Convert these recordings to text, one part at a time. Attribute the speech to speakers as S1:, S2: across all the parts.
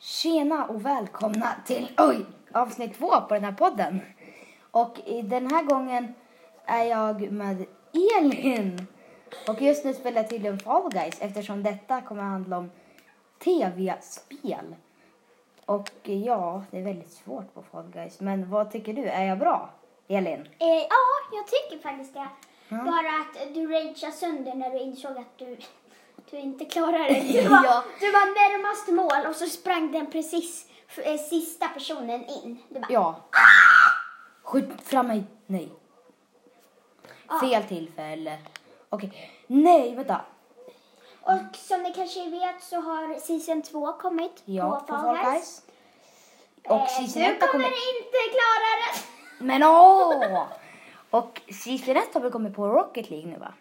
S1: Tjena och välkomna till oj, avsnitt två på den här podden. Och i den här gången är jag med Elin. Och just nu spelar jag tydligen Fall Guys eftersom detta kommer att handla om tv-spel. Och ja, det är väldigt svårt på Fall Guys. Men vad tycker du? Är jag bra, Elin?
S2: Eh, ja, jag tycker faktiskt det. Bara att du ragear sönder när du insåg att du, du inte klarar det. Du var,
S1: Ja.
S2: du var närmast mål och så sprang den precis f- eh, sista personen in. Du bara,
S1: Ja. Skjut fram mig. Nej. Fel tillfälle. Okej. Nej, vänta.
S2: Och som ni kanske vet så har season 2 kommit
S1: Ja,
S2: på Fall Guys.
S1: Och
S2: Eh,
S1: season
S2: du
S1: 1 har
S2: kommer
S1: kommit...
S2: inte klara det!
S1: Men åh! Och season 1 har väl kommit på Rocket League nu va?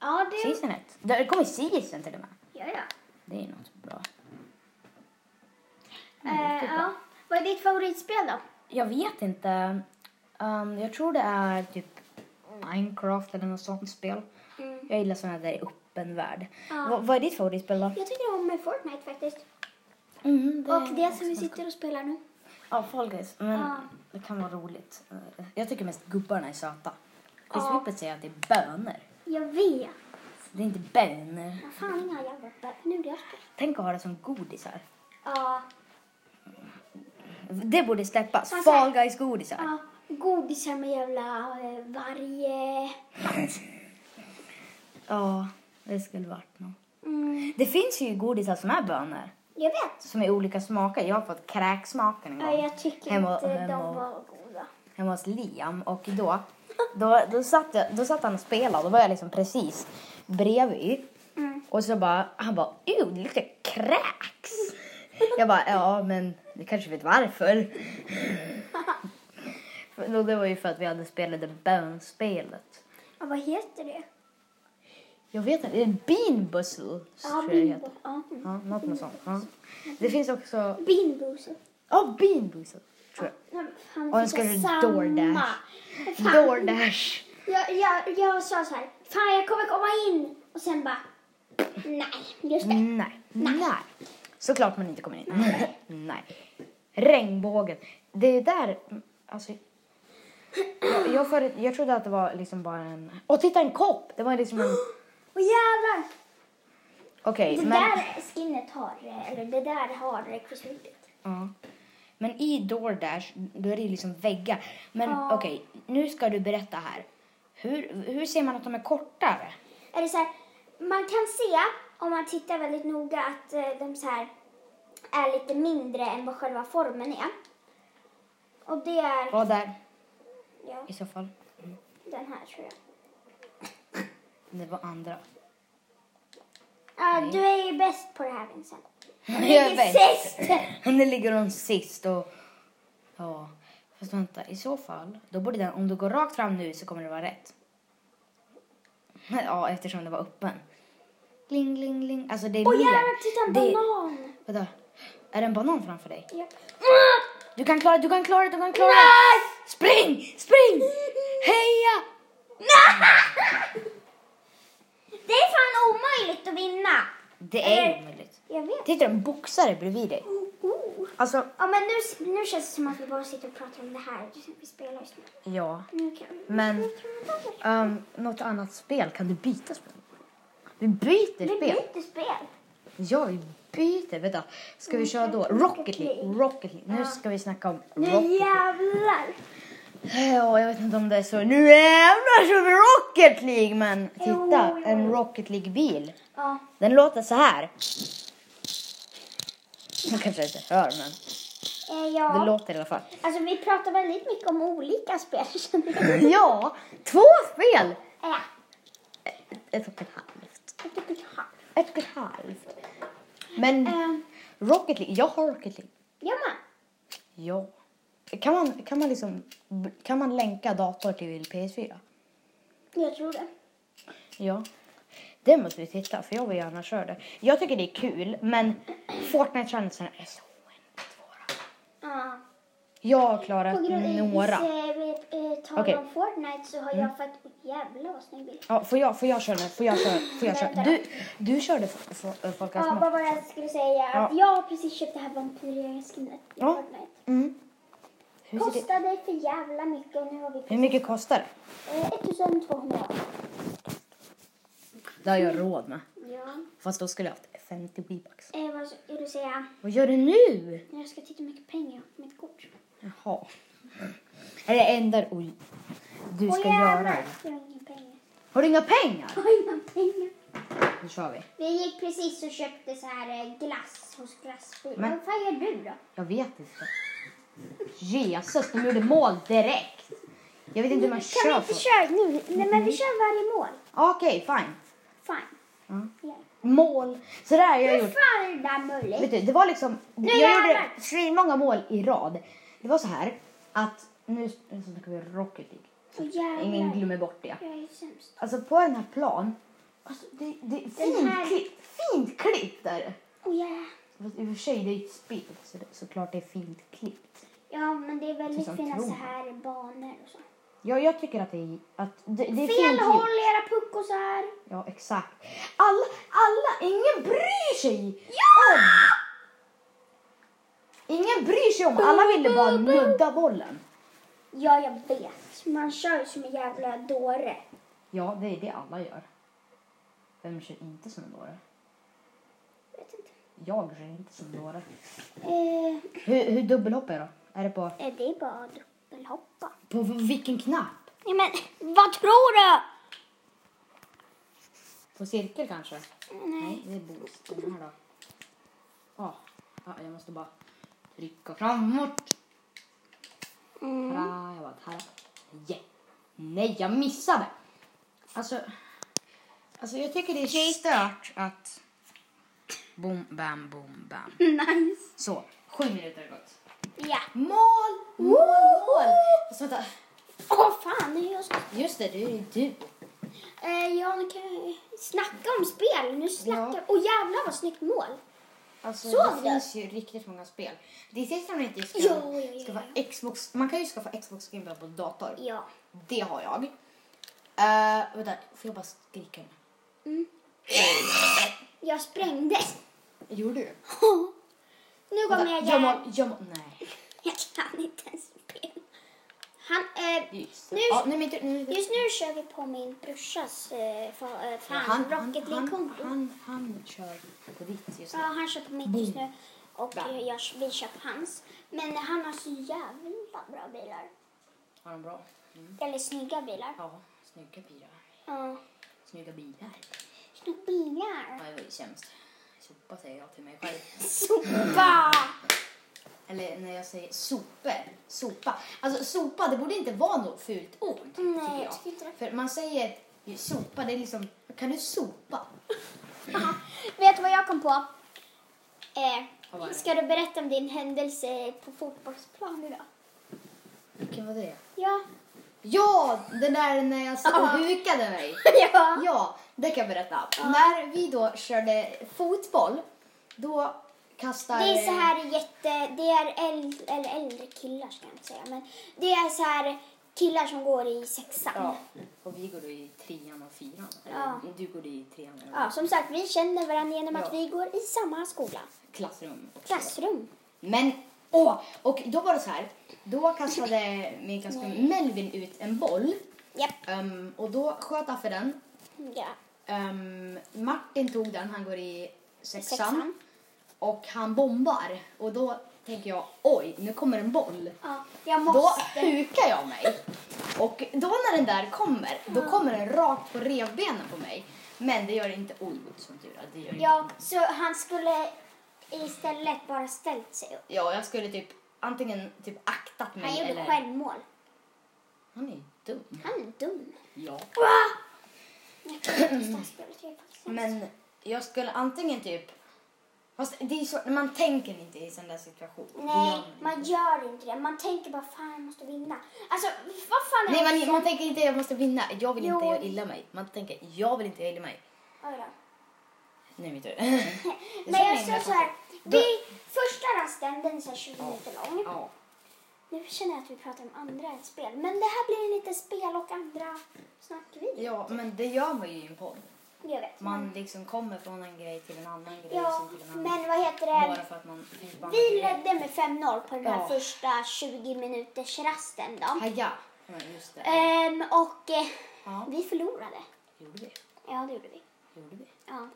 S2: Ja, du.
S1: Season 1. Det har kommit season till och med.
S2: Ja, ja.
S1: Det är ju något bra. Mm,
S2: Eh, ja. Vad är ditt favoritspel då?
S1: Jag vet inte. Ehm, jag tror det är typ Minecraft eller något sånt spel. Jag gillar sådana där i öppen värld.
S2: Ja.
S1: Va- vad är ditt favoritspel då?
S2: Jag tycker om Fortnite faktiskt.
S1: Mm, det...
S2: Och det som vi sitter och spelar nu.
S1: Ja, Fall Guys. Men
S2: Ja.
S1: det kan vara roligt. Eh, Jag tycker mest gubbarna är söta. Chris
S2: Ja.
S1: Whippet säger att det är bönor.
S2: Jag vet.
S1: Det är inte bönor.
S2: Vad fan, inga jävla nu det jag spelar.
S1: Tänk att ha det som godisar.
S2: Ja.
S1: Det borde släppas.
S2: Som
S1: Fall
S2: sagt.
S1: Guys godisar.
S2: Ja, godisar med jävla eh, varje...
S1: Ja, det skulle varit något.
S2: Mm,
S1: Det finns ju godisar som är bönor.
S2: jag vet.
S1: Som är olika smaker. Jag har fått kräksmaken en
S2: Ja,
S1: gång.
S2: jag tycker
S1: Hemma-
S2: inte
S1: hemma-
S2: de var goda.
S1: Hemma hos Liam. Och då, då, då, satt jag, då satt han och spelade. Då var jag liksom precis bredvid.
S2: Mm.
S1: Och så bara, han bara, "Ew, det luktar kräks. Jag bara, ja men du kanske vet varför. För- Det var ju för att vi hade spelat det bönspelet.
S2: Ja, vad heter det?
S1: Jag vet inte, det är Bean Bustle.
S2: Ja,
S1: tror jag
S2: Mm.
S1: det
S2: bimbo.
S1: heter.
S2: Ja.
S1: Ja, något med sånt. Ja. Det finns också...
S2: Bimbo.
S1: Ja, Bean Bustle. Tror jag.
S2: Han
S1: Och den
S2: fick
S1: skulle
S2: samma.
S1: DoorDash.
S2: Fan,
S1: DoorDash.
S2: Jag, jag, jag sa så här, fan jag kommer komma in. Och sen bara, nej, just det.
S1: Nej. Nej. Såklart man inte kommer in. Nej. Regnbågen. Det är där... Alltså... Jag, jag, före, jag trodde att det var liksom bara en... Åh, titta en kopp! Det var liksom en...
S2: Och jävlar!
S1: Okej,
S2: Det
S1: men...
S2: där skinnet har, eh, eller det där har eh, Chris Whippet.
S1: Ja. Men i DoorDash, då är det liksom väggar. Men
S2: Ja.
S1: okej, nu ska du berätta här. Hur, hur ser man att de är kortare?
S2: är det så här, man kan se om man tittar väldigt noga att eh, de så här är lite mindre än vad själva formen är. Och det är
S1: Ja, där
S2: ja,
S1: i så fall.
S2: den här tror jag.
S1: Det var andra.
S2: Ja, du är ju bäst på det här Vincent.
S1: Jag
S2: Det
S1: är
S2: är
S1: bäst.
S2: sist!
S1: Nu ligger de sist och... Ja. Fast vänta, i så fall, då borde den, om du går rakt fram nu så kommer det vara rätt. Ja, eftersom det var öppen. Gling, gling, gling. Alltså det är
S2: Åh
S1: mer.
S2: jävlar, titta en
S1: Det-
S2: banan!
S1: Vänta. Är det en banan framför dig?
S2: Ja.
S1: Du kan klara det, du kan klara det, du kan klara det!
S2: Nej!
S1: Spring! Spring! Heja!
S2: Det är fan omöjligt att vinna!
S1: Det är
S2: Eller-
S1: omöjligt.
S2: Jag vet.
S1: Titta, en boxare bredvid dig.
S2: Oh.
S1: Alltså,
S2: Ja men nu, nu känns det som att vi bara sitter och pratar om det här vi spelar just nu.
S1: ja.
S2: Nu kan vi...
S1: Men-
S2: Nu kan vi ta det.
S1: Um, något annat spel, kan du byta spel? Vi byter
S2: Vi
S1: spel.
S2: byter spel.
S1: Ja, vi byter. Vänta, ska vi köra då? Rocket League. Rocket League. Nu
S2: Ja.
S1: ska vi snacka om
S2: Nu
S1: Rocket League.
S2: jävlar!
S1: Ja, jag vet inte om det är så. Nu jävlar kör vi Rocket League! Men
S2: Jo,
S1: titta,
S2: jo.
S1: en Rocket League-bil.
S2: Ja.
S1: Den låter så här. Man kanske inte hör, men
S2: Eh,
S1: det
S2: ja.
S1: låter i alla fall.
S2: Alltså vi pratar väldigt mycket om olika spel känner jag.
S1: Ja, två spel!
S2: Ja.
S1: Ett och ett halvt.
S2: jag tycker det här.
S1: Ett och ett halvt. Men
S2: Eh,
S1: Rocket League, jag har Rocket League.
S2: Ja men.
S1: Ja. Kan man, kan man, liksom, kan man länka dator till PS4?
S2: Jag tror det.
S1: Ja. Det måste vi titta, för jag vill gärna köra det. Jag tycker det är kul, men Fortnite Challengerna är så oändligt svåra.
S2: Ja.
S1: Jag har klarat
S2: På grund av
S1: några.
S2: eh, vet, eh, tal
S1: Okej.
S2: om Fortnite så har jag fått... Oj, jävlar vad snygg bild.
S1: Ja, får jag, får jag köra nu? Får jag köra? Får jag köra? Du, du körde f- f- äh,
S2: Ja,
S1: Folkans
S2: ah,
S1: match.
S2: vad var det jag skulle säga?
S1: Ja.
S2: Att jag har precis köpt det här vampyrjägarskinnet i
S1: Ja.
S2: Fortnite.
S1: Mm. Hur, ser det?
S2: Kostade för jävla mycket och nu har vi
S1: Hur mycket kostar det?
S2: eh, 1200.
S1: Det har jag råd med.
S2: Ja.
S1: Fast då skulle jag haft 50 Weebucks.
S2: Eh, vad skulle du säga?
S1: Vad gör du nu?
S2: Jag ska titta hur mycket pengar jag har på mitt kort.
S1: Jaha. Är det enda oj, du ska
S2: Åh,
S1: göra?
S2: jävlar.
S1: det?
S2: Jag har inga pengar.
S1: Har du inga pengar?
S2: Jag har inga pengar.
S1: Nu kör vi.
S2: Vi gick precis och köpte så här eh, glass hos glassbil.
S1: Men-
S2: Vad fan gör du då?
S1: Jag vet inte. Jesus, de gjorde mål direkt. Jag vet inte hur man
S2: Kan vi
S1: kör Mm.
S2: inte
S1: på. Ah,
S2: köra nu? Nej men vi kör varje mål.
S1: Okej, fine.
S2: Fan.
S1: Mm.
S2: Ja.
S1: Mål. Så där har jag
S2: Hur
S1: gjort.
S2: fan är det där möjligt?
S1: Vet du, det var liksom... jag
S2: jävlar!
S1: gjorde svinmånga mål i rad. Det var så här att... Nu nu snackar vi Rocket League.
S2: Åh, jävlar.
S1: Ingen glömmer bort det.
S2: Jag är sämst.
S1: Alltså på den här plan... Alltså, det, det är fint,
S2: här-
S1: klipp, fint klippt där.
S2: Åh, jävlar.
S1: Fast i och för sig, det är ju ett spel så det, såklart det är fint klippt.
S2: Ja, men det är väldigt
S1: Tusen
S2: fina
S1: kronor.
S2: så här banor och så.
S1: Ja, jag tycker att det är, att det, det är
S2: Fel
S1: fint
S2: håll,
S1: klippt.
S2: era puckosar.
S1: Ja, exakt. Alla, alla, ingen bryr sig om. Ingen bryr sig om, alla ville bara nudda bollen.
S2: Ja, jag vet. Man kör ju som en jävla dåre.
S1: Ja, det är det alla gör. Vem kör inte som en dåre?
S2: Vet inte.
S1: Jag kör inte som en dåre.
S2: Eh,
S1: Hur, hur dubbelhoppar jag då? Är det på,
S2: eh, det är bara att dubbelhoppa.
S1: på vilken knapp?
S2: Nej, men vad tror du?
S1: På cirkel kanske?
S2: Nej.
S1: Nej, det är boost. Den här då. Ja, ja, jag måste bara trycka framåt.
S2: Mm.
S1: Tada, Jag var här. Nej. Nej, jag missade. Alltså, alltså jag tycker det är stört att... Boom, bam, boom, bam.
S2: Nice.
S1: Så, sju minuter har gått.
S2: Ja.
S1: Mål, mål, mål! Fast vänta,
S2: Åh, fan. det är jag som-
S1: just det, det är ju du.
S2: Eh, ja, nu kan jag snacka om spel. Nu snackar... Åh, jävlar vad snyggt mål.
S1: Alltså,
S2: Såg
S1: det
S2: du?
S1: finns ju riktigt många spel. Det är det som inte ska,
S2: Ja, ja, ja,
S1: ska vara Xbox. Man kan ju skaffa Xbox Gameboy på dator.
S2: Ja.
S1: Det har jag. Uh, vänta, får jag bara skrika nu?
S2: Jag sprängdes.
S1: Gjorde du?
S2: Nu
S1: Vänta,
S2: kommer jag
S1: jag
S2: igen.
S1: må, jag må, nej.
S2: Jag kan inte ens spela. Han, eh,
S1: Just det.
S2: nu,
S1: Ja, nej, men inte- nu,
S2: just nu kör vi på min brorsas eh, fa, eh, fan, Rocket
S1: han,
S2: League-konto.
S1: han, han kör på ditt just
S2: Ja,
S1: nu.
S2: han kör på mitt just nu och
S1: Bra.
S2: jag, jag, vi kör på hans. Men han har så jävla bra bilar.
S1: Har han bra? Mm.
S2: Eller snygga bilar.
S1: Ja, snygga bilar.
S2: Ja,
S1: Snygga bilar.
S2: snygga
S1: Ja,
S2: bilar.
S1: det var ju sämst. Sopa säger jag till mig själv.
S2: Sopa!
S1: Eller när jag säger sopor. Sopa. Alltså sopa, det borde inte vara något fult ord.
S2: Nej, jag tycker inte det.
S1: För man säger ju sopa, det är liksom, kan du sopa?
S2: Vet du vad jag kom på?
S1: Vad var
S2: Eh,
S1: det?
S2: ska du berätta om din händelse på fotbollsplan idag?
S1: Vilken var det?
S2: Ja.
S1: Ja, det där när jag stod och hukade mig.
S2: ja.
S1: Ja, det kan jag berätta. När vi då körde fotboll, då kastar...
S2: Det är så här jätte, det är äldre, eller äldre killar ska jag inte säga, men det är så här killar som går i sexan.
S1: Ja, och vi går då i trean och fyran. Eller,
S2: Ja.
S1: Du går i trean och
S2: Ja, som sagt, vi känner varandra genom att
S1: Ja.
S2: vi går i samma skola.
S1: klassrum. också.
S2: Klassrum.
S1: Men, åh! Och då var det så här, då kastade min klasskamrat Melvin ut en boll.
S2: Japp.
S1: ehm, och då sköt han för den.
S2: Ja.
S1: Ehm, Martin tog den, han går i sexan.
S2: Sexan.
S1: Och han bombar. Och då tänker jag, oj, nu kommer en boll.
S2: ja. Jag
S1: Då
S2: måste.
S1: hukar jag mig. Och då när den där kommer, då kommer den rakt på revbenen på mig. Men det gör inte ont som tur är. Det gör inte
S2: Ja,
S1: ont.
S2: så han skulle istället bara ställt sig upp.
S1: ja, jag skulle typ antingen typ aktat mig
S2: Han gjorde
S1: eller...
S2: självmål.
S1: Han är ju dum.
S2: Han är dum.
S1: Ja.
S2: Jag kan inte stå och spela tre faktiskt.
S1: Men jag skulle antingen typ... Fast det är så, man tänker inte i sån där situation. Det gör
S2: Nej,
S1: man inte.
S2: man gör inte det. Man tänker bara fan, jag måste vinna. Alltså, vad fan är
S1: Nej,
S2: det?
S1: man, man tänker inte jag måste vinna. Jag vill inte
S2: Jo.
S1: göra illa mig. Man tänker jag vill inte göra illa mig.
S2: Oj då.
S1: Nu är min tur.
S2: Men jag
S1: så himla
S2: sa så här.
S1: konstigt.
S2: Vi, första rasten, den är så här 20 minuter lång.
S1: Ja.
S2: Nu känner jag att vi pratar om andra än spel. Men det här blir en liten spel och andra snackvideo.
S1: Ja, men det gör man ju i en podd.
S2: Jag vet.
S1: Man liksom kommer från en grej till en annan grej.
S2: Mm. ja,
S1: sen till en annan.
S2: men vad heter
S1: Bara
S2: det?
S1: för att man fick
S2: Vi ledde med 5-0 på den här
S1: Ja.
S2: första 20 minuters rasten då.
S1: Haja! Ja, just det.
S2: Ehm, och eh,
S1: Ja,
S2: vi förlorade.
S1: gjorde vi?
S2: Ja, det gjorde vi.
S1: Gjorde vi?
S2: Ja.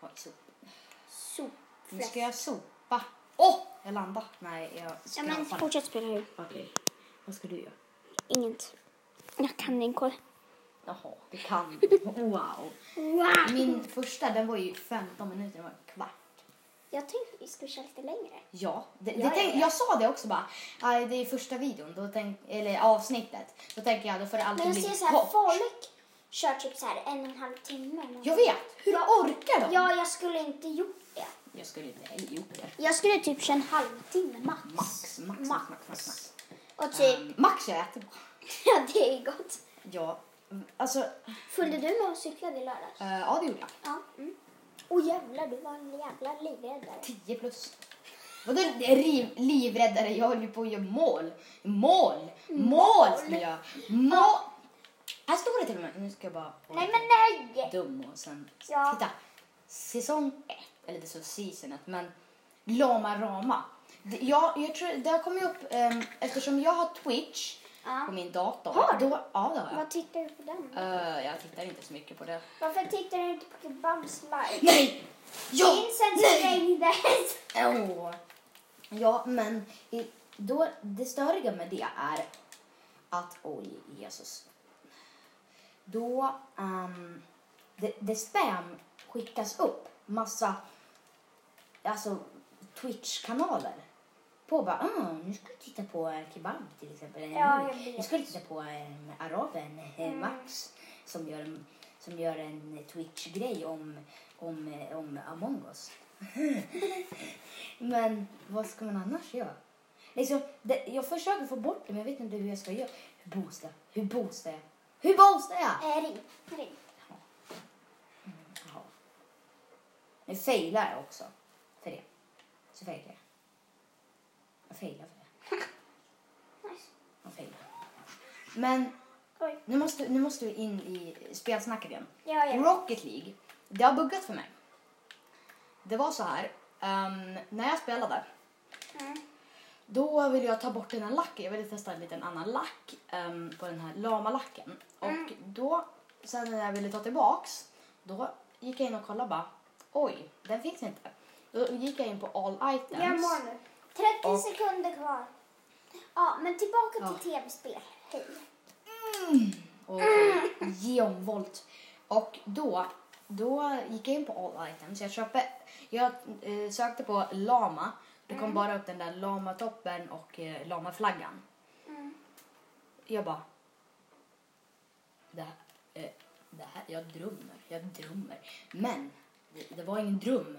S1: Oj, sop. Nu
S2: Sopfläsk.
S1: ska jag sopa. Åh! Oh, jag landade. Nej, jag
S2: Ja, men
S1: skrapade.
S2: fortsätt spela du.
S1: Okej, vad ska du göra?
S2: Inget. Jag kan din kod.
S1: Jaha, det kan Wow.
S2: Wow.
S1: Min första, den var ju 15 minuter, den var en kvart.
S2: Jag tänkte vi skulle köra lite längre.
S1: Ja, det, det
S2: Ja,
S1: tänk,
S2: ja.
S1: jag sa det också bara. Aj, det är första videon, då tänk, eller avsnittet. Då tänker jag, då får det
S2: Men
S1: alltid
S2: jag
S1: bli
S2: ser så här,
S1: kort.
S2: folk kör typ så här en och en halv timme. eller något.
S1: Jag vet, hur orkar de?
S2: Ja, jag skulle inte gjort det.
S1: Jag skulle inte heller gjort det.
S2: Jag skulle typ köra en halvtimme max.
S1: Max, max, max, max, max. max.
S2: Och typ,
S1: Ehm, max jag äter på.
S2: ja det är gott.
S1: Ja, mm, alltså,
S2: Följde du med och cyklade i lördags?
S1: eh, ja det gjorde jag.
S2: Ja. Mm. Oh jävlar, du var en jävla livräddare.
S1: 10 plus. Vadå riv, livräddare? Jag håller ju på att göra mål. Mål!
S2: Mm.
S1: Mål ska jag Mål! Här står det till och med. Nu ska jag bara vara
S2: Nej men nej!
S1: dum och sen...
S2: Ja.
S1: Titta! Säsong 1, eller det står season 1, men Lama Rama. Det- Ja, jag tror det har kommit upp ehm, eftersom jag har Twitch på
S2: Ja.
S1: min dator.
S2: Har du?
S1: Då, ja, det har jag.
S2: Vad tittar du på den?
S1: Eh, jag tittar inte så mycket på det.
S2: Varför tittar du inte på Kebabs live?
S1: Nej! Ja!
S2: Vincent
S1: Nej!
S2: sprängdes!
S1: Åh. Ja, men i- då, det störiga med det är att, oj Jesus. Då, ehm, det, det spam skickas upp massa, alltså Twitch-kanaler. På bara, ah, nu ska du titta på eh, Kebab till exempel. Eller,
S2: Ja,
S1: nu-
S2: jag vet.
S1: nu ska du titta på eh, araben eh,
S2: Mm.
S1: Max som gör, en- som gör en eh, Twitch-grej om, om, eh, om Among us. Men vad ska man annars göra? Liksom, det, jag försöker få bort det, men jag vet inte hur jag ska göra. Hur boostar jag? Hur boostar jag? Hur boostar jag?
S2: Eh, ring, ring.
S1: Jaha. Nu failar jag också för det. Så failar jag. Jag failar för det.
S2: Nice.
S1: Jag failar. Men
S2: Oj.
S1: nu måste, nu måste vi in i spelsnacket igen.
S2: Ja, ja.
S1: Rocket League, det har buggat för mig. Det var så här, ehm, när jag spelade
S2: Mm.
S1: Då vill jag ta bort den här lacken. Jag ville testa en liten annan lack ehm, på den här lamalacken. Och
S2: Mm.
S1: då, sen när jag ville ta tillbaks, då gick jag in och kollade bara, oj, den finns inte. Då gick jag in på all items.
S2: Jag mår nu. 30
S1: Och-
S2: sekunder kvar. Ja, men tillbaka
S1: Ja.
S2: till tv-spel. Hej.
S1: och genomvolt. Och då, då gick jag in på all items. Jag, köpte, jag eh, sökte på lama. Det kom bara upp den där lamatoppen och eh, lamaflaggan.
S2: Mm.
S1: Jag bara... Det här, eh, det här, jag drömmer, jag drömmer. Men det, det var ingen dröm.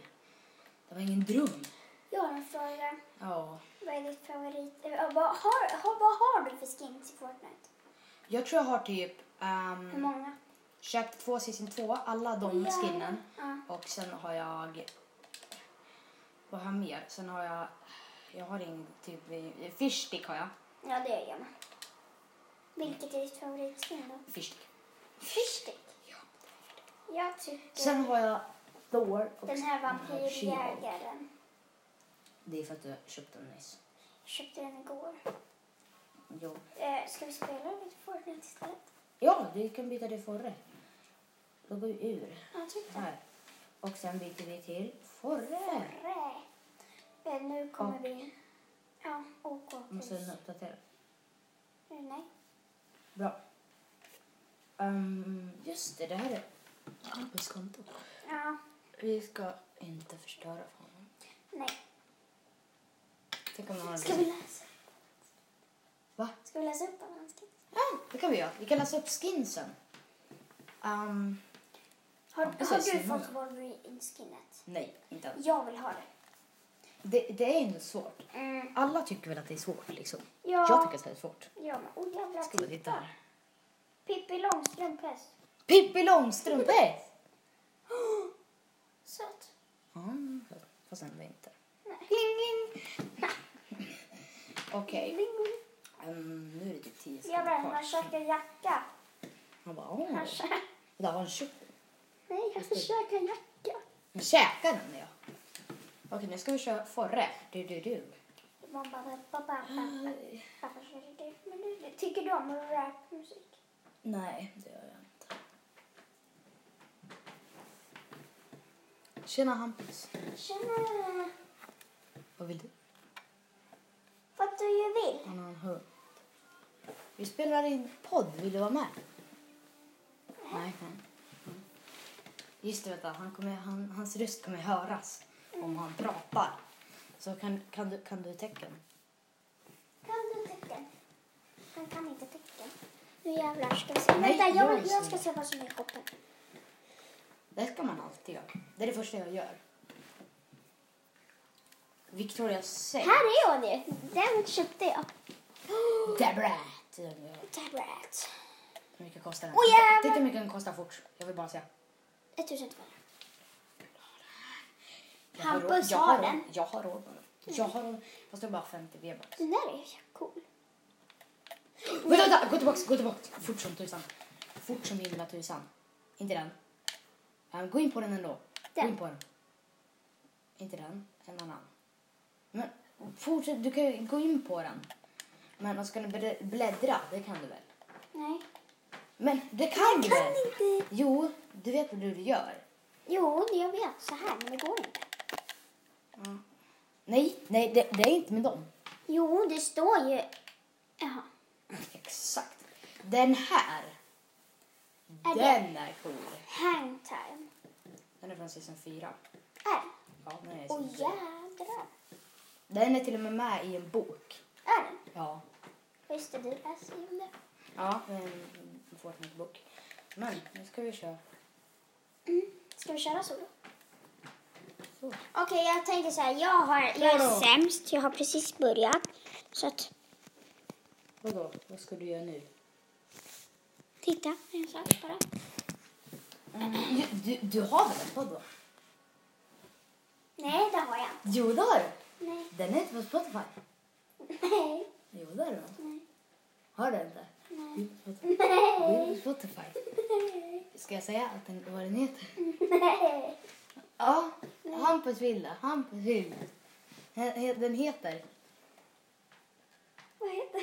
S1: Det var ingen dröm.
S2: Jag har en fråga.
S1: Ja.
S2: Vad är ditt favorit? eh, Vad har, har, vad har du för skins i Fortnite?
S1: Jag tror jag har typ ehm,
S2: Hur många?
S1: köpt två season 2, alla de
S2: Ja.
S1: skinnen.
S2: Ja.
S1: Och sen har jag... Vad har jag mer? Sen har jag... Jag har ingen typ... Fishstick har jag.
S2: Ja, det gör jag med. Vilket är ditt favoritskin då?
S1: Fishstick.
S2: Fishstick.
S1: Ja.
S2: Jag tycker
S1: Sen har jag Thor. Och
S2: den här
S1: She-Hulk.
S2: vampyrjägaren.
S1: Det är för att jag köpte den nyss.
S2: Jag köpte den igår.
S1: Jo.
S2: Eh, ska vi spela lite Fortnite istället?
S1: Ja, du kan byta det förre. Då går vi ur
S2: Ja, jag tyckte
S1: här. Och sen byter vi till forre.
S2: Rätt. Eh, nu kommer
S1: Och-
S2: vi... Ja, OK.
S1: Måste den uppdatera?
S2: Nej.
S1: Bra. Ehm, just det, det här är Albins konto.
S2: Ja,
S1: Vi ska inte förstöra för honom.
S2: nej.
S1: Tänk om han har
S2: Ska vi läsa,
S1: Va?
S2: ska vi läsa upp alla hans skins?
S1: Ja, det kan vi göra. Vi kan läsa upp skinsen. Ehm,
S2: Har,
S1: Ja,
S2: har
S1: precis.
S2: du
S1: Mm.
S2: fått Wolverine-skinnet?
S1: nej, inte alls.
S2: Jag vill ha det. Mm.
S1: Det, det är inte svårt. Alla tycker väl att det är svårt liksom.
S2: Ja.
S1: Jag tycker att det är svårt.
S2: Ja, men oh jävlar.
S1: Ska vi titta här?
S2: Pippi Långstrump häst.
S1: Pippi Långstrump! eh! hej!
S2: Söt.
S1: Ja, fast ändå inte.
S2: Nej.
S1: Kling, kling. Okej.
S2: Bing.
S1: Ehm, nu är det typ 10
S2: Jag
S1: sekunder
S2: bara, han
S1: kvar.
S2: käkar jacka.
S1: Han bara, åh.
S2: Han käkar...
S1: Det var en tjock.
S2: Nej, han käkar jacka.
S1: Nu käkar den ja. Okej, nu ska vi köra forre. Du, du, du.
S2: Man bara, pappa, pappa, pappa, käkar jacka. Men du, tycker du om rapmusik?
S1: Nej, det gör jag inte. Tjena Hampus.
S2: Känner
S1: Vad vill du?
S2: vad du ju vill.
S1: Han har en hund. Vi spelar in podd. Vill du vara med? Nej. nej. Mm. Just det, vänta. Han kommer, han, hans röst kommer höras om han pratar. Så kan, kan, du, kan du tecken?
S2: Kan du tecken? Han kan inte tecken. Nu jävlar ska vi se.
S1: Nej,
S2: Vänta,
S1: jag
S2: jag,
S1: ser.
S2: jag ska se vad som är i koppen.
S1: Det ska man alltid göra. Det är det första jag gör. Victoria säger...
S2: Här är hon ju. Den köpte jag.
S1: Debrat!
S2: Tablet.
S1: Hur mycket kostar den?
S2: Åh, jävlar!
S1: Titta hur mycket den kostar fort. Jag vill bara säga.
S2: 1200.
S1: Jag har
S2: Hampus
S1: råd- jag
S2: har
S1: råd-
S2: den.
S1: Jag har råd med den. Jag har råd. Fast det är bara 50 V-bucks.
S2: Den där är ju cool.
S1: Vänta, vänta! Gå tillbaka, gå tillbaka. Fort som tusan. Fort som himla tusan. Inte den. Ehm, gå in på den ändå. Gå
S2: Den.
S1: in på den. Inte den. En annan. Men fortsätt. Du kan ju gå in på den. Men och ska du bl- bläddra? Det kan du väl?
S2: Nej.
S1: Men det kan du väl?
S2: inte.
S1: Jo, du vet vad du gör.
S2: Jo, det jag vet. Så här, men det går inte.
S1: Nej, nej det, det är inte med dem.
S2: Jo, det står ju... Jaha.
S1: Exakt. Den här.
S2: Är det-
S1: den är cool.
S2: Hangtime.
S1: Den är från säsong 4.
S2: Är
S1: Ja, den är i
S2: Åh
S1: säsong fyra.
S2: jädrar.
S1: Den är till och med med i en bok.
S2: Är den?
S1: Ja.
S2: Just det, du läser ju om det.
S1: Ja, det är en Fortnite-bok. Men nu ska vi köra.
S2: Ska vi köra solo?
S1: Så.
S2: Okej, jag tänker så här. Jag, har, jag är sämst. Jag har precis börjat. Så att,
S1: Vadå? Vad ska du göra nu?
S2: titta. En sak bara.
S1: Du, Mm, du, du har väl en podd då?
S2: Nej, det har jag inte.
S1: Jo, det har du.
S2: Nej.
S1: Den är inte på Spotify.
S2: Nej.
S1: Jo, det har du.
S2: Nej.
S1: Har du inte?
S2: Nej.
S1: Den
S2: Nej.
S1: är på Spotify. Ska jag säga att den, vad den heter?
S2: Nej.
S1: Ja, Hampus vill det. Hampus vill det. He- he- Den heter
S2: Vad heter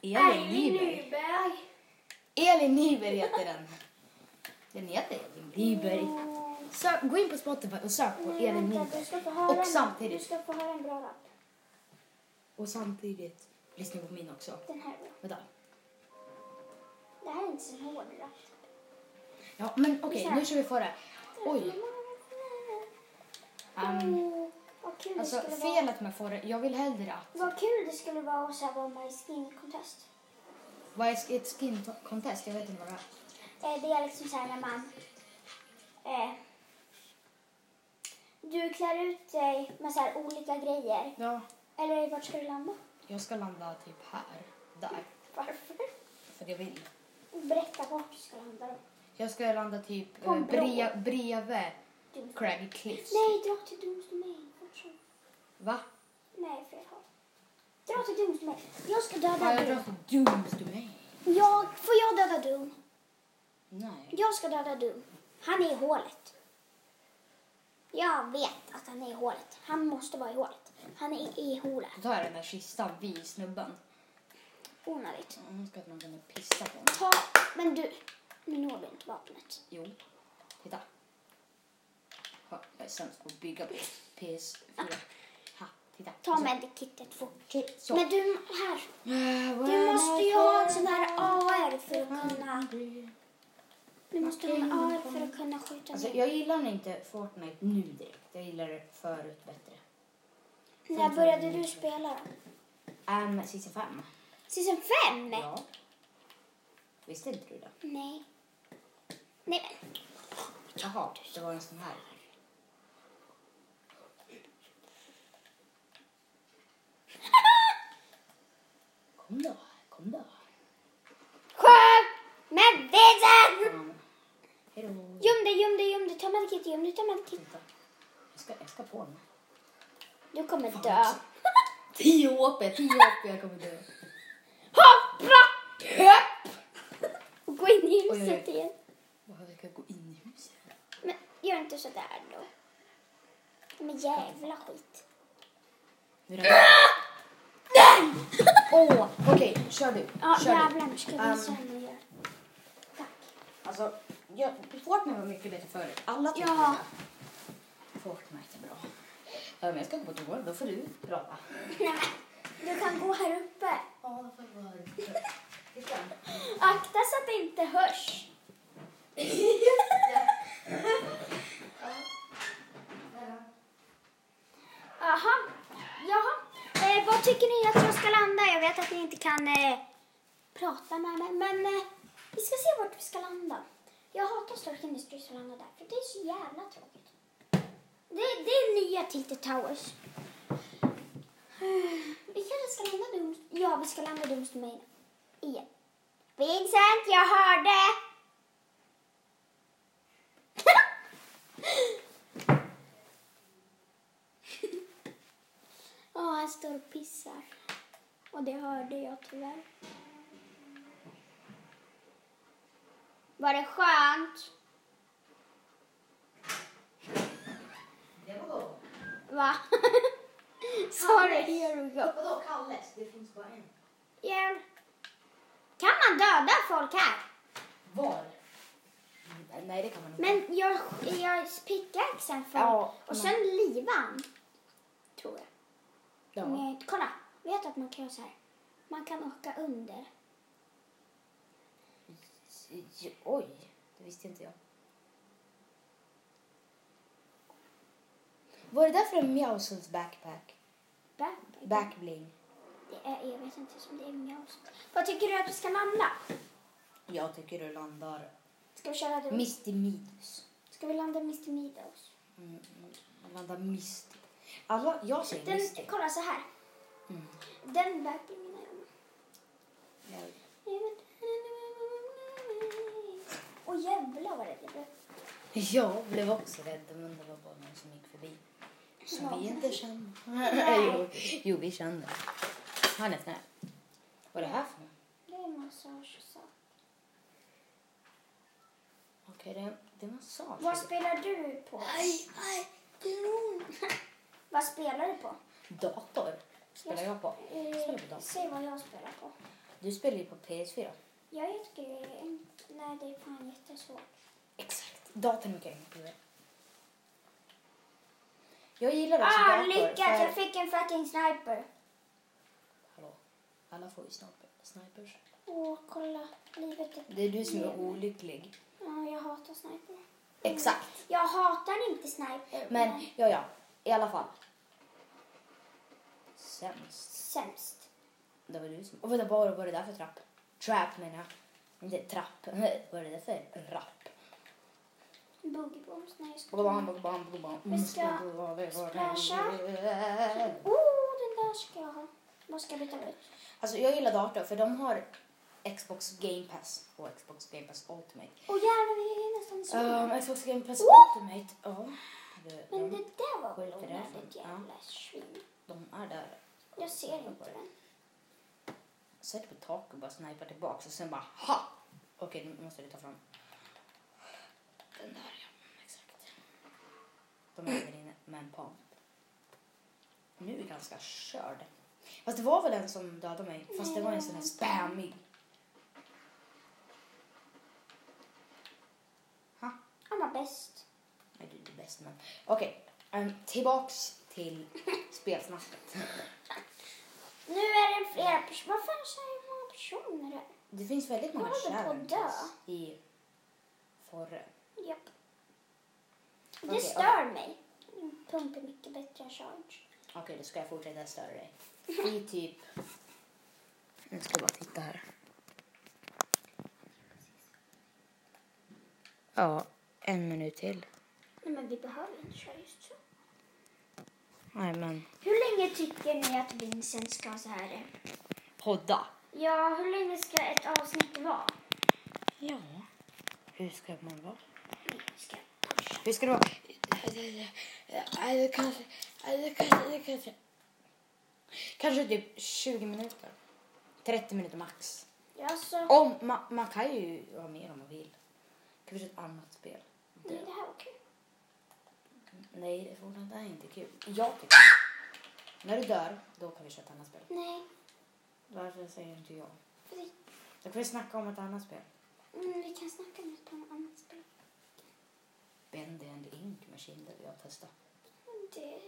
S2: det?
S1: Elin Nyberg.
S2: Nyberg.
S1: Elin Nyberg heter den. Den heter Elin Nyberg. Sök, gå in på Spotify och sök på
S2: Nej,
S1: Elin
S2: vänta, du
S1: Nyberg.
S2: ska få höra
S1: Och
S2: en-
S1: samtidigt.
S2: Du ska få höra en bra rap.
S1: Och samtidigt lyssna på min också.
S2: Den här då.
S1: Vänta.
S2: Det här är inte så hård rap.
S1: Ja, men okej, nu kör vi förra. Oj. ehm,
S2: Åh, vad kul
S1: alltså
S2: det skulle vara.
S1: felet med förra, jag vill hellre att
S2: Vad kul det skulle vara att så här vara med i skin contest.
S1: vad är ett skin contest? Jag vet inte vad det är.
S2: Eh, det är liksom så här när man... Eh, du klär ut dig med så här olika grejer.
S1: Ja,
S2: Eller vart ska du landa?
S1: jag ska landa typ här, där,
S2: Varför?
S1: för jag vill.
S2: Berätta vart du ska landa då.
S1: Jag ska landa typ
S2: På en
S1: eh,
S2: bro.
S1: bre- bredvid
S2: Dumt.
S1: Craggy Cliffs.
S2: Nej, dra till Domsdomain. Fort som-
S1: Va?
S2: Nej, fel håll. Dra till Domsdomain. Jag ska döda
S1: Har jag
S2: Doom.
S1: drar till Dooms Domain?
S2: Jag, får jag döda Doom?
S1: Nej.
S2: Jag ska döda Doom. Han är i hålet. Jag vet att han är i hålet. Han måste vara i hålet. Han är i hålet.
S1: Då tar jag den där kistan vid snubben.
S2: Onödigt.
S1: Jag önskar att man kunde pissa på mig.
S2: Ta, men du. Nu når du inte vapnet.
S1: Jo. Titta. Ha, Jag är sämst på att bygga på PS4. Ha, titta.
S2: Ta medkittet fort.
S1: Alltså- Så.
S2: Men du, här.
S1: Du
S2: Du måste ju ha en sån här AR för att
S1: Mm.
S2: kunna... Du måste ha en AR för att kunna skjuta
S1: Alltså,
S2: ner.
S1: jag gillar inte Fortnite nu direkt. Jag gillar det förut bättre.
S2: När började du spela då?
S1: Um, Sista fem.
S2: Season 5?
S1: Ja. Visste inte du det?
S2: Nej. Nej men.
S1: Jaha, det var en sån här. Kom då, kom då.
S2: Skjut med vitsen!
S1: Um, hej då.
S2: Göm dig, göm dig, göm dig. Ta medkit, göm dig, ta medkit.
S1: Vänta. Jag ska, jag ska på den.
S2: Du kommer
S1: Fan
S2: dö.
S1: också. Tio hopp, tio hopp, jag kommer dö.
S3: Hoppla! Höpp!
S2: Och gå in i
S1: Oj, oj, oj.
S2: huset igen.
S1: Wow, jag kan gå in i huset.
S2: Men gör inte sådär då. Men jävla skit.
S1: Nu är det- Åh, okej, kör du.
S2: Ja,
S1: kör du.
S2: jävlar nu ska jag visa
S1: Ehm.
S2: henne hur jag gör. Tack.
S1: Alltså, jag, Fortnite var mycket bättre förut. Alla tyckte
S2: Ja.
S1: det. Fortnite är bra. Ja, men jag ska gå på toa, då får du prata.
S2: Nej men, du kan gå här uppe.
S1: Ja, då får jag vara
S2: Akta så att det inte hörs. Jaha, jaha. Eh, vad tycker ni att jag ska landa? Jag vet att ni inte kan eh, prata med mig, men eh, vi ska se vart vi ska landa. Jag hatar Stork Industries och landa där, för det är så jävla tråkigt. Det, det är nya Tilted Towers. Eh, Vi kanske ska landa dumt. Ja, vi ska landa dumt med mig igen. Vincent, jag hörde! Ja, han står och pissar. Och det hörde jag tyvärr. Var det skönt?
S1: Det var då.
S2: Va? Sorry, here we go.
S1: Vadå Kalles? Det finns bara en.
S2: Jävlar. Kan man döda folk här?
S1: Var? Mm, Nej, det kan man inte.
S2: Men jag, jag pickaxen för
S1: Ja,
S2: och sen livan. Tror jag. Men
S1: Ja.
S2: jag inte- Kolla, vet du att man kan göra så här? Man kan åka under.
S1: J- Oj, det visste inte jag. Var det där för en Mjausons backpack?
S2: Backpack.
S1: Backbling?
S2: Det är, jag vet inte som det är mjaus. Vad tycker du att vi ska landa?
S1: Jag tycker du landar...
S2: Ska vi köra runt?
S1: Misty Midus.
S2: Ska vi landa Mr. Meadows?
S1: Mm, mm, jag landar Misty. Alla, jag säger
S2: Den,
S1: Misty.
S2: kolla så här.
S1: Mm.
S2: Den backpacken menar jag.
S1: Jag-
S2: Åh jävlar vad rädd jag blev.
S1: Jag blev också rädd, men det var bara någon som gick förbi. Som
S2: Ja.
S1: vi inte känner.
S2: Nej.
S1: jo, jo, vi känner. Han är snäll. Vad är det här för något?
S2: Det är massage och så.
S1: Okej, det, det är massage.
S2: Vad spelar du på?
S1: Aj, aj, det gör ont.
S2: Vad spelar du på?
S1: Dator spelar jag på. Spelar på
S2: Eh,
S1: dator.
S2: säg vad jag spelar på.
S1: Du spelar ju på PS4.
S2: Jag tycker det är en- Nej, det är fan jättesvårt.
S1: Exakt. Datorn är mycket enklare. Jag gillar också
S2: Ah,
S1: dator.
S2: lyckat!
S1: för-
S2: Jag fick en fucking sniper.
S1: Hallå. Alla får ju sniper, snipers.
S2: Åh, kolla. Livet är...
S1: Det är du som är
S2: lever.
S1: olycklig.
S2: Ja, jag hatar sniper.
S1: Exakt.
S2: Jag hatar inte sniper.
S1: Men ja, ja. I alla fall. Sämst.
S2: Sämst.
S1: Det var du som... Och vänta, vad var det där för trapp? Trap menar jag. Inte trapp. Vad är det där för rapp?
S2: Boogie bombs. Nej, jag ska...
S1: Bam, bam, bam, bam.
S2: Vi Mm, ska splasha. Oh, den där ska jag ha. Vad ska jag byta ut?
S1: Alltså jag gillar dator för de har Xbox Game Pass och Xbox Game Pass Ultimate.
S2: Åh jävlar, vi är nästan så.
S1: Ehm, Xbox Game Pass Ultimate, ja. Det-
S2: Men
S1: de,
S2: det där var väl
S1: Skit i det.
S2: onödigt jävla svin.
S1: de är där.
S2: Jag ser inte den.
S1: Sätter på tak och bara snipar tillbaka och sen bara ha! Okej, nu måste vi ta fram. Den där ja, exakt. De är där inne med en pump. Nu är vi ganska körd. Fast det var väl en som dödade mig. Fast det var en sån här spammig.
S2: Han var bäst.
S1: Nej, du är det bästa men. Okej, ehm, tillbaks till spelsnacket.
S2: Nu är det flera personer. Varför är det så här många personer här?
S1: Det finns väldigt många
S2: Jag håller på att dö.
S1: challenges i Forre.
S2: Japp. Det
S1: Okej,
S2: stör mig. Min Pump är mycket bättre än charge.
S1: Okej, då ska jag fortsätta störa dig. I typ... Nu ska jag bara titta här. Ja, en minut till.
S2: Nej men vi behöver inte köra just så.
S1: Nej, men...
S2: Hur länge tycker ni att Vincent ska ha så här? eh?
S1: Podda.
S2: Ja, hur länge ska ett avsnitt vara?
S1: Ja. Hur ska man vara?
S2: Nej, Ska jag pusha?
S1: Hur ska det vara? Alltså, Nej, det kanske... Nej, det kanske... Det kanske... Kanske typ 20 minuter. 30 minuter max.
S2: Ja, så...
S1: Om, man, man kan ju vara med om man vill. Kanske ett annat spel.
S2: Nej, det här var kul.
S1: Nej, det Fortnite är inte kul. Jag tycker det. När du dör, då kan vi köra ett annat spel.
S2: Nej,
S1: Varför säger inte jag?
S2: för det...
S1: Då kan vi snacka om ett annat spel.
S2: Mm, vi kan snacka om det på något annat spel.
S1: Bendy and Ink Machine, där vi har testat.
S2: Mm, Det,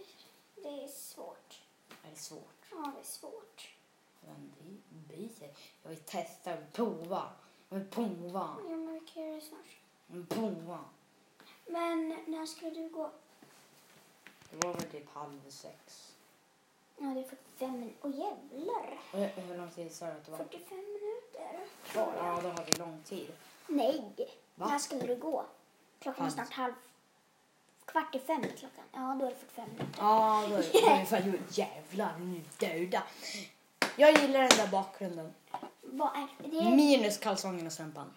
S2: det är svårt.
S1: Är det svårt?
S2: Ja, det är svårt.
S1: Men det blir Jag vill testa och prova. Jag vill prova.
S2: Ja, men vi kan göra det snart.
S1: Jag vill prova.
S2: Men när skulle du gå?
S1: Det var väl typ halv sex.
S2: Ja, det är 45 minuter. Åh jävlar!
S1: Och hur- Hur lång tid sa du att det var
S2: 45 minuter.
S1: kvar? Ja, då har vi lång tid.
S2: Nej!
S1: Va?
S2: När skulle du gå? Klockan är
S1: Halv.
S2: snart halv... Kvart i fem är klockan. Ja, då är det 45 minuter.
S1: Ja, då är det ungefär ju jävlar nu döda. Jag gillar den där bakgrunden.
S2: Vad är det?
S1: Minus kalsongen och strumpan.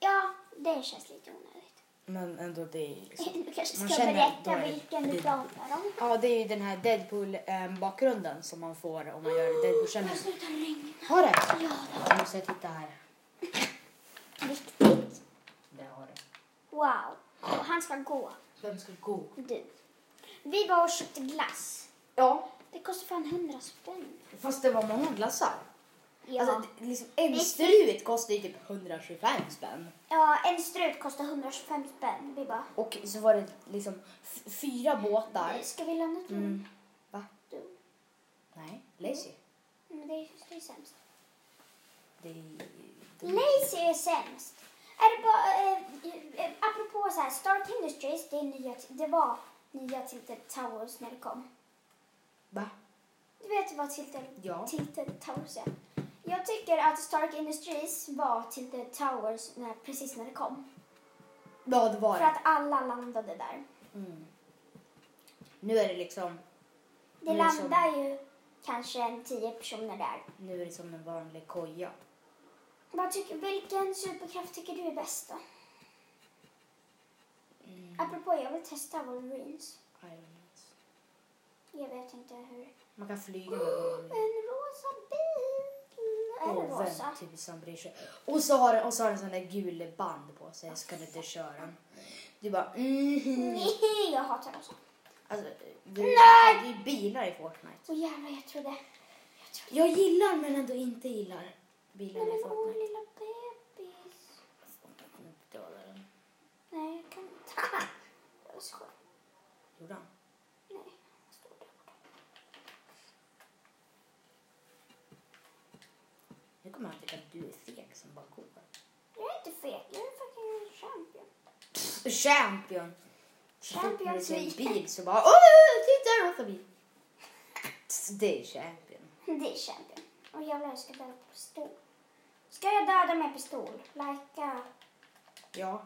S2: Ja, det känns lite onödigt.
S1: Men ändå det är liksom.
S2: Du kanske
S1: Man
S2: ska
S1: känner- då
S2: berätta
S1: är det-
S2: vilken du
S1: det-
S2: pratar om.
S1: Ja, det är ju den här Deadpool-bakgrunden som man får om man gör
S2: Det har
S1: Deadpool-kändis.
S2: slutat regna.
S1: Har det?
S2: Ja, det
S1: Jag måste titta här.
S2: är riktigt.
S1: Det har det.
S2: Wow. Och han ska gå.
S1: Vem ska gå?
S2: Du. Vi var och köpte glass.
S1: Ja,
S2: Det kostar fan 100 spänn.
S1: fast det var många glassar.
S2: Ja.
S1: Alltså, det- liksom, en strut kostar ju typ 125 spänn.
S2: ja, en strut kostar 125 spänn. Vi bara, "Eh,
S1: Och så var det liksom f- fyra båtar.
S2: ska vi lämna till
S1: Mm. Va?
S2: Du.
S1: Nej, Lazy.
S2: Men det är, det är sämst.
S1: Det är...
S2: Lazy är sämst. Är det bara, eh, eh, apropå så här, Stark Industries, det, är nya, det var nya Tilted Towers när det kom.
S1: Va?
S2: Du vet vad Tilted,
S1: Ja.
S2: tilted Towers är? Jag tycker att Stark Industries var Tilted Towers när, precis när det kom.
S1: Ja, det var
S2: För
S1: det.
S2: att alla landade där.
S1: Mm. Nu är det liksom...
S2: Det
S1: Men som-
S2: landar ju kanske en tio personer där.
S1: Nu är det som en vanlig koja.
S2: Vad tycker, vilken superkraft tycker du är bäst då?
S1: Mm.
S2: Apropå, jag vill testa Wolverines.
S1: I don't know.
S2: Jag vet inte hur.
S1: Man kan flyga med vanlig.
S2: En rosa bil! Är det
S1: Och
S2: rosa?
S1: vem typ som bryr sig. Och så har den, och så har den sån där gul band på sig. Så kan du inte köra den. Du bara... Mm.
S2: Nej, jag hatar rosa.
S1: Alltså, det är,
S2: Nej!
S1: det är ju bilar i Fortnite.
S2: Åh jävlar, jag trodde... Jag trodde...
S1: Jag gillar men ändå inte gillar bilar
S2: Nej
S1: i
S2: men åh,
S1: Fortnite.
S2: lilla bebis.
S1: Det var där den.
S2: Nej, jag kan inte. Jag skojar.
S1: Gjorde han?
S2: Nej, han står där borta.
S1: Nu kommer han tycka att du är feg som bara går.
S2: Jag är inte fet, jag är fucking champion.
S1: Champion!
S2: Champion
S1: Så fort man ser
S2: League.
S1: en bil så bara åh, titta rosa bil. Det är champion.
S2: Det är champion. Och jävlar, jag ska döda med pistol. Ska jag döda med pistol? Lajka.
S1: Ja.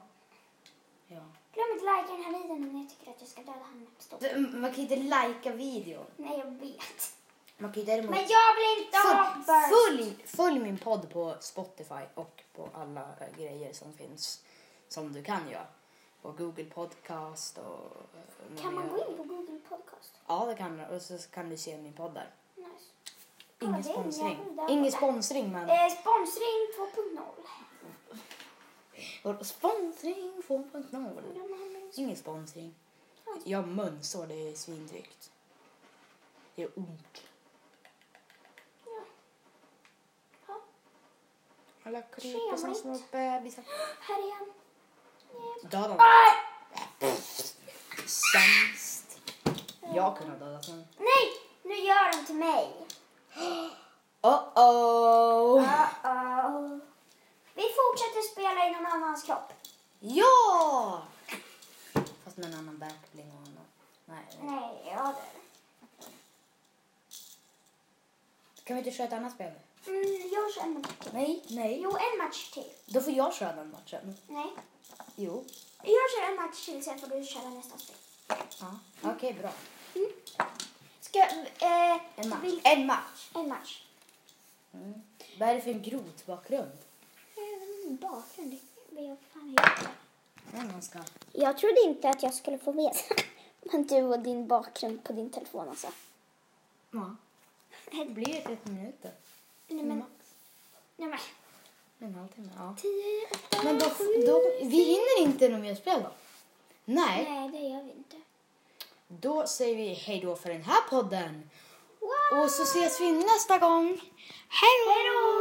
S1: Ja.
S2: Glöm inte lajka den här videon om ni tycker att jag ska döda honom med pistol.
S1: Du, Man kan ju inte lajka videon.
S2: Nej, jag vet.
S1: Man kan ju däremot...
S2: Men jag vill inte ha
S1: Följ,
S2: burst.
S1: följ, följ min podd på Spotify och på alla eh, grejer som finns som du kan göra. På Google Podcast och... eh,
S2: Kan man gå in på Google Podcast?
S1: Ja, det kan du. Och så kan du se min podd där.
S2: Nice. Kolla,
S1: Ingen
S2: det är en jävel
S1: sponsring.
S2: där
S1: Ingen
S2: borta.
S1: sponsring, men...
S2: Eh, sponsring 2.0.
S1: Och Sponsring 2.0.
S2: Undrar om han minns-
S1: Ingen sponsring. Jag mönsår, det är svindrygt. Det är ont.
S2: Ja. Ja,
S1: Alla kryper som
S2: Trevligt.
S1: små bebisar.
S2: här är han. Nej.
S1: Döda honom.
S2: Aj!
S1: Sämst. Jag kunde ha dödat honom.
S2: Nej, nu gör han till mig.
S1: Uh-oh!
S2: Uh-oh. Vi fortsätter spela i någon annans kropp.
S1: Ja! Fast med en annan backbling och annan. Nej.
S2: Nej, ja du.
S1: Kan vi inte köra ett annat spel?
S2: Mm, jag kör en match till.
S1: Nej, nej.
S2: Jo, en match till.
S1: Då får jag köra den matchen.
S2: Nej.
S1: Jo.
S2: Jag kör en match till, sen får du köra nästa spel.
S1: Ja. Okej, bra.
S2: Ska, eh,
S1: Mm. En match.
S2: vil-
S1: En match.
S2: en match.
S1: Mm. Vad är det för en grotbakgrund?
S2: Eh, Bakgrund. Vad fan är det?
S1: Mm, man ska.
S2: Jag trodde inte att jag skulle få veta. Men du och din bakgrund på din telefon alltså.
S1: Ja. Det blir ju 30 minuter.
S2: Nej men, nej men.
S1: En halvtimme, ja.
S2: Tio, åtta,
S1: Men då,
S2: sju.
S1: då, vi hinner inte något mer spel då? Nej,
S2: Nej, det gör vi inte.
S1: då säger vi hej då för den här podden.
S2: Wow.
S1: Och så ses vi nästa gång. Hej då!
S2: Hej då!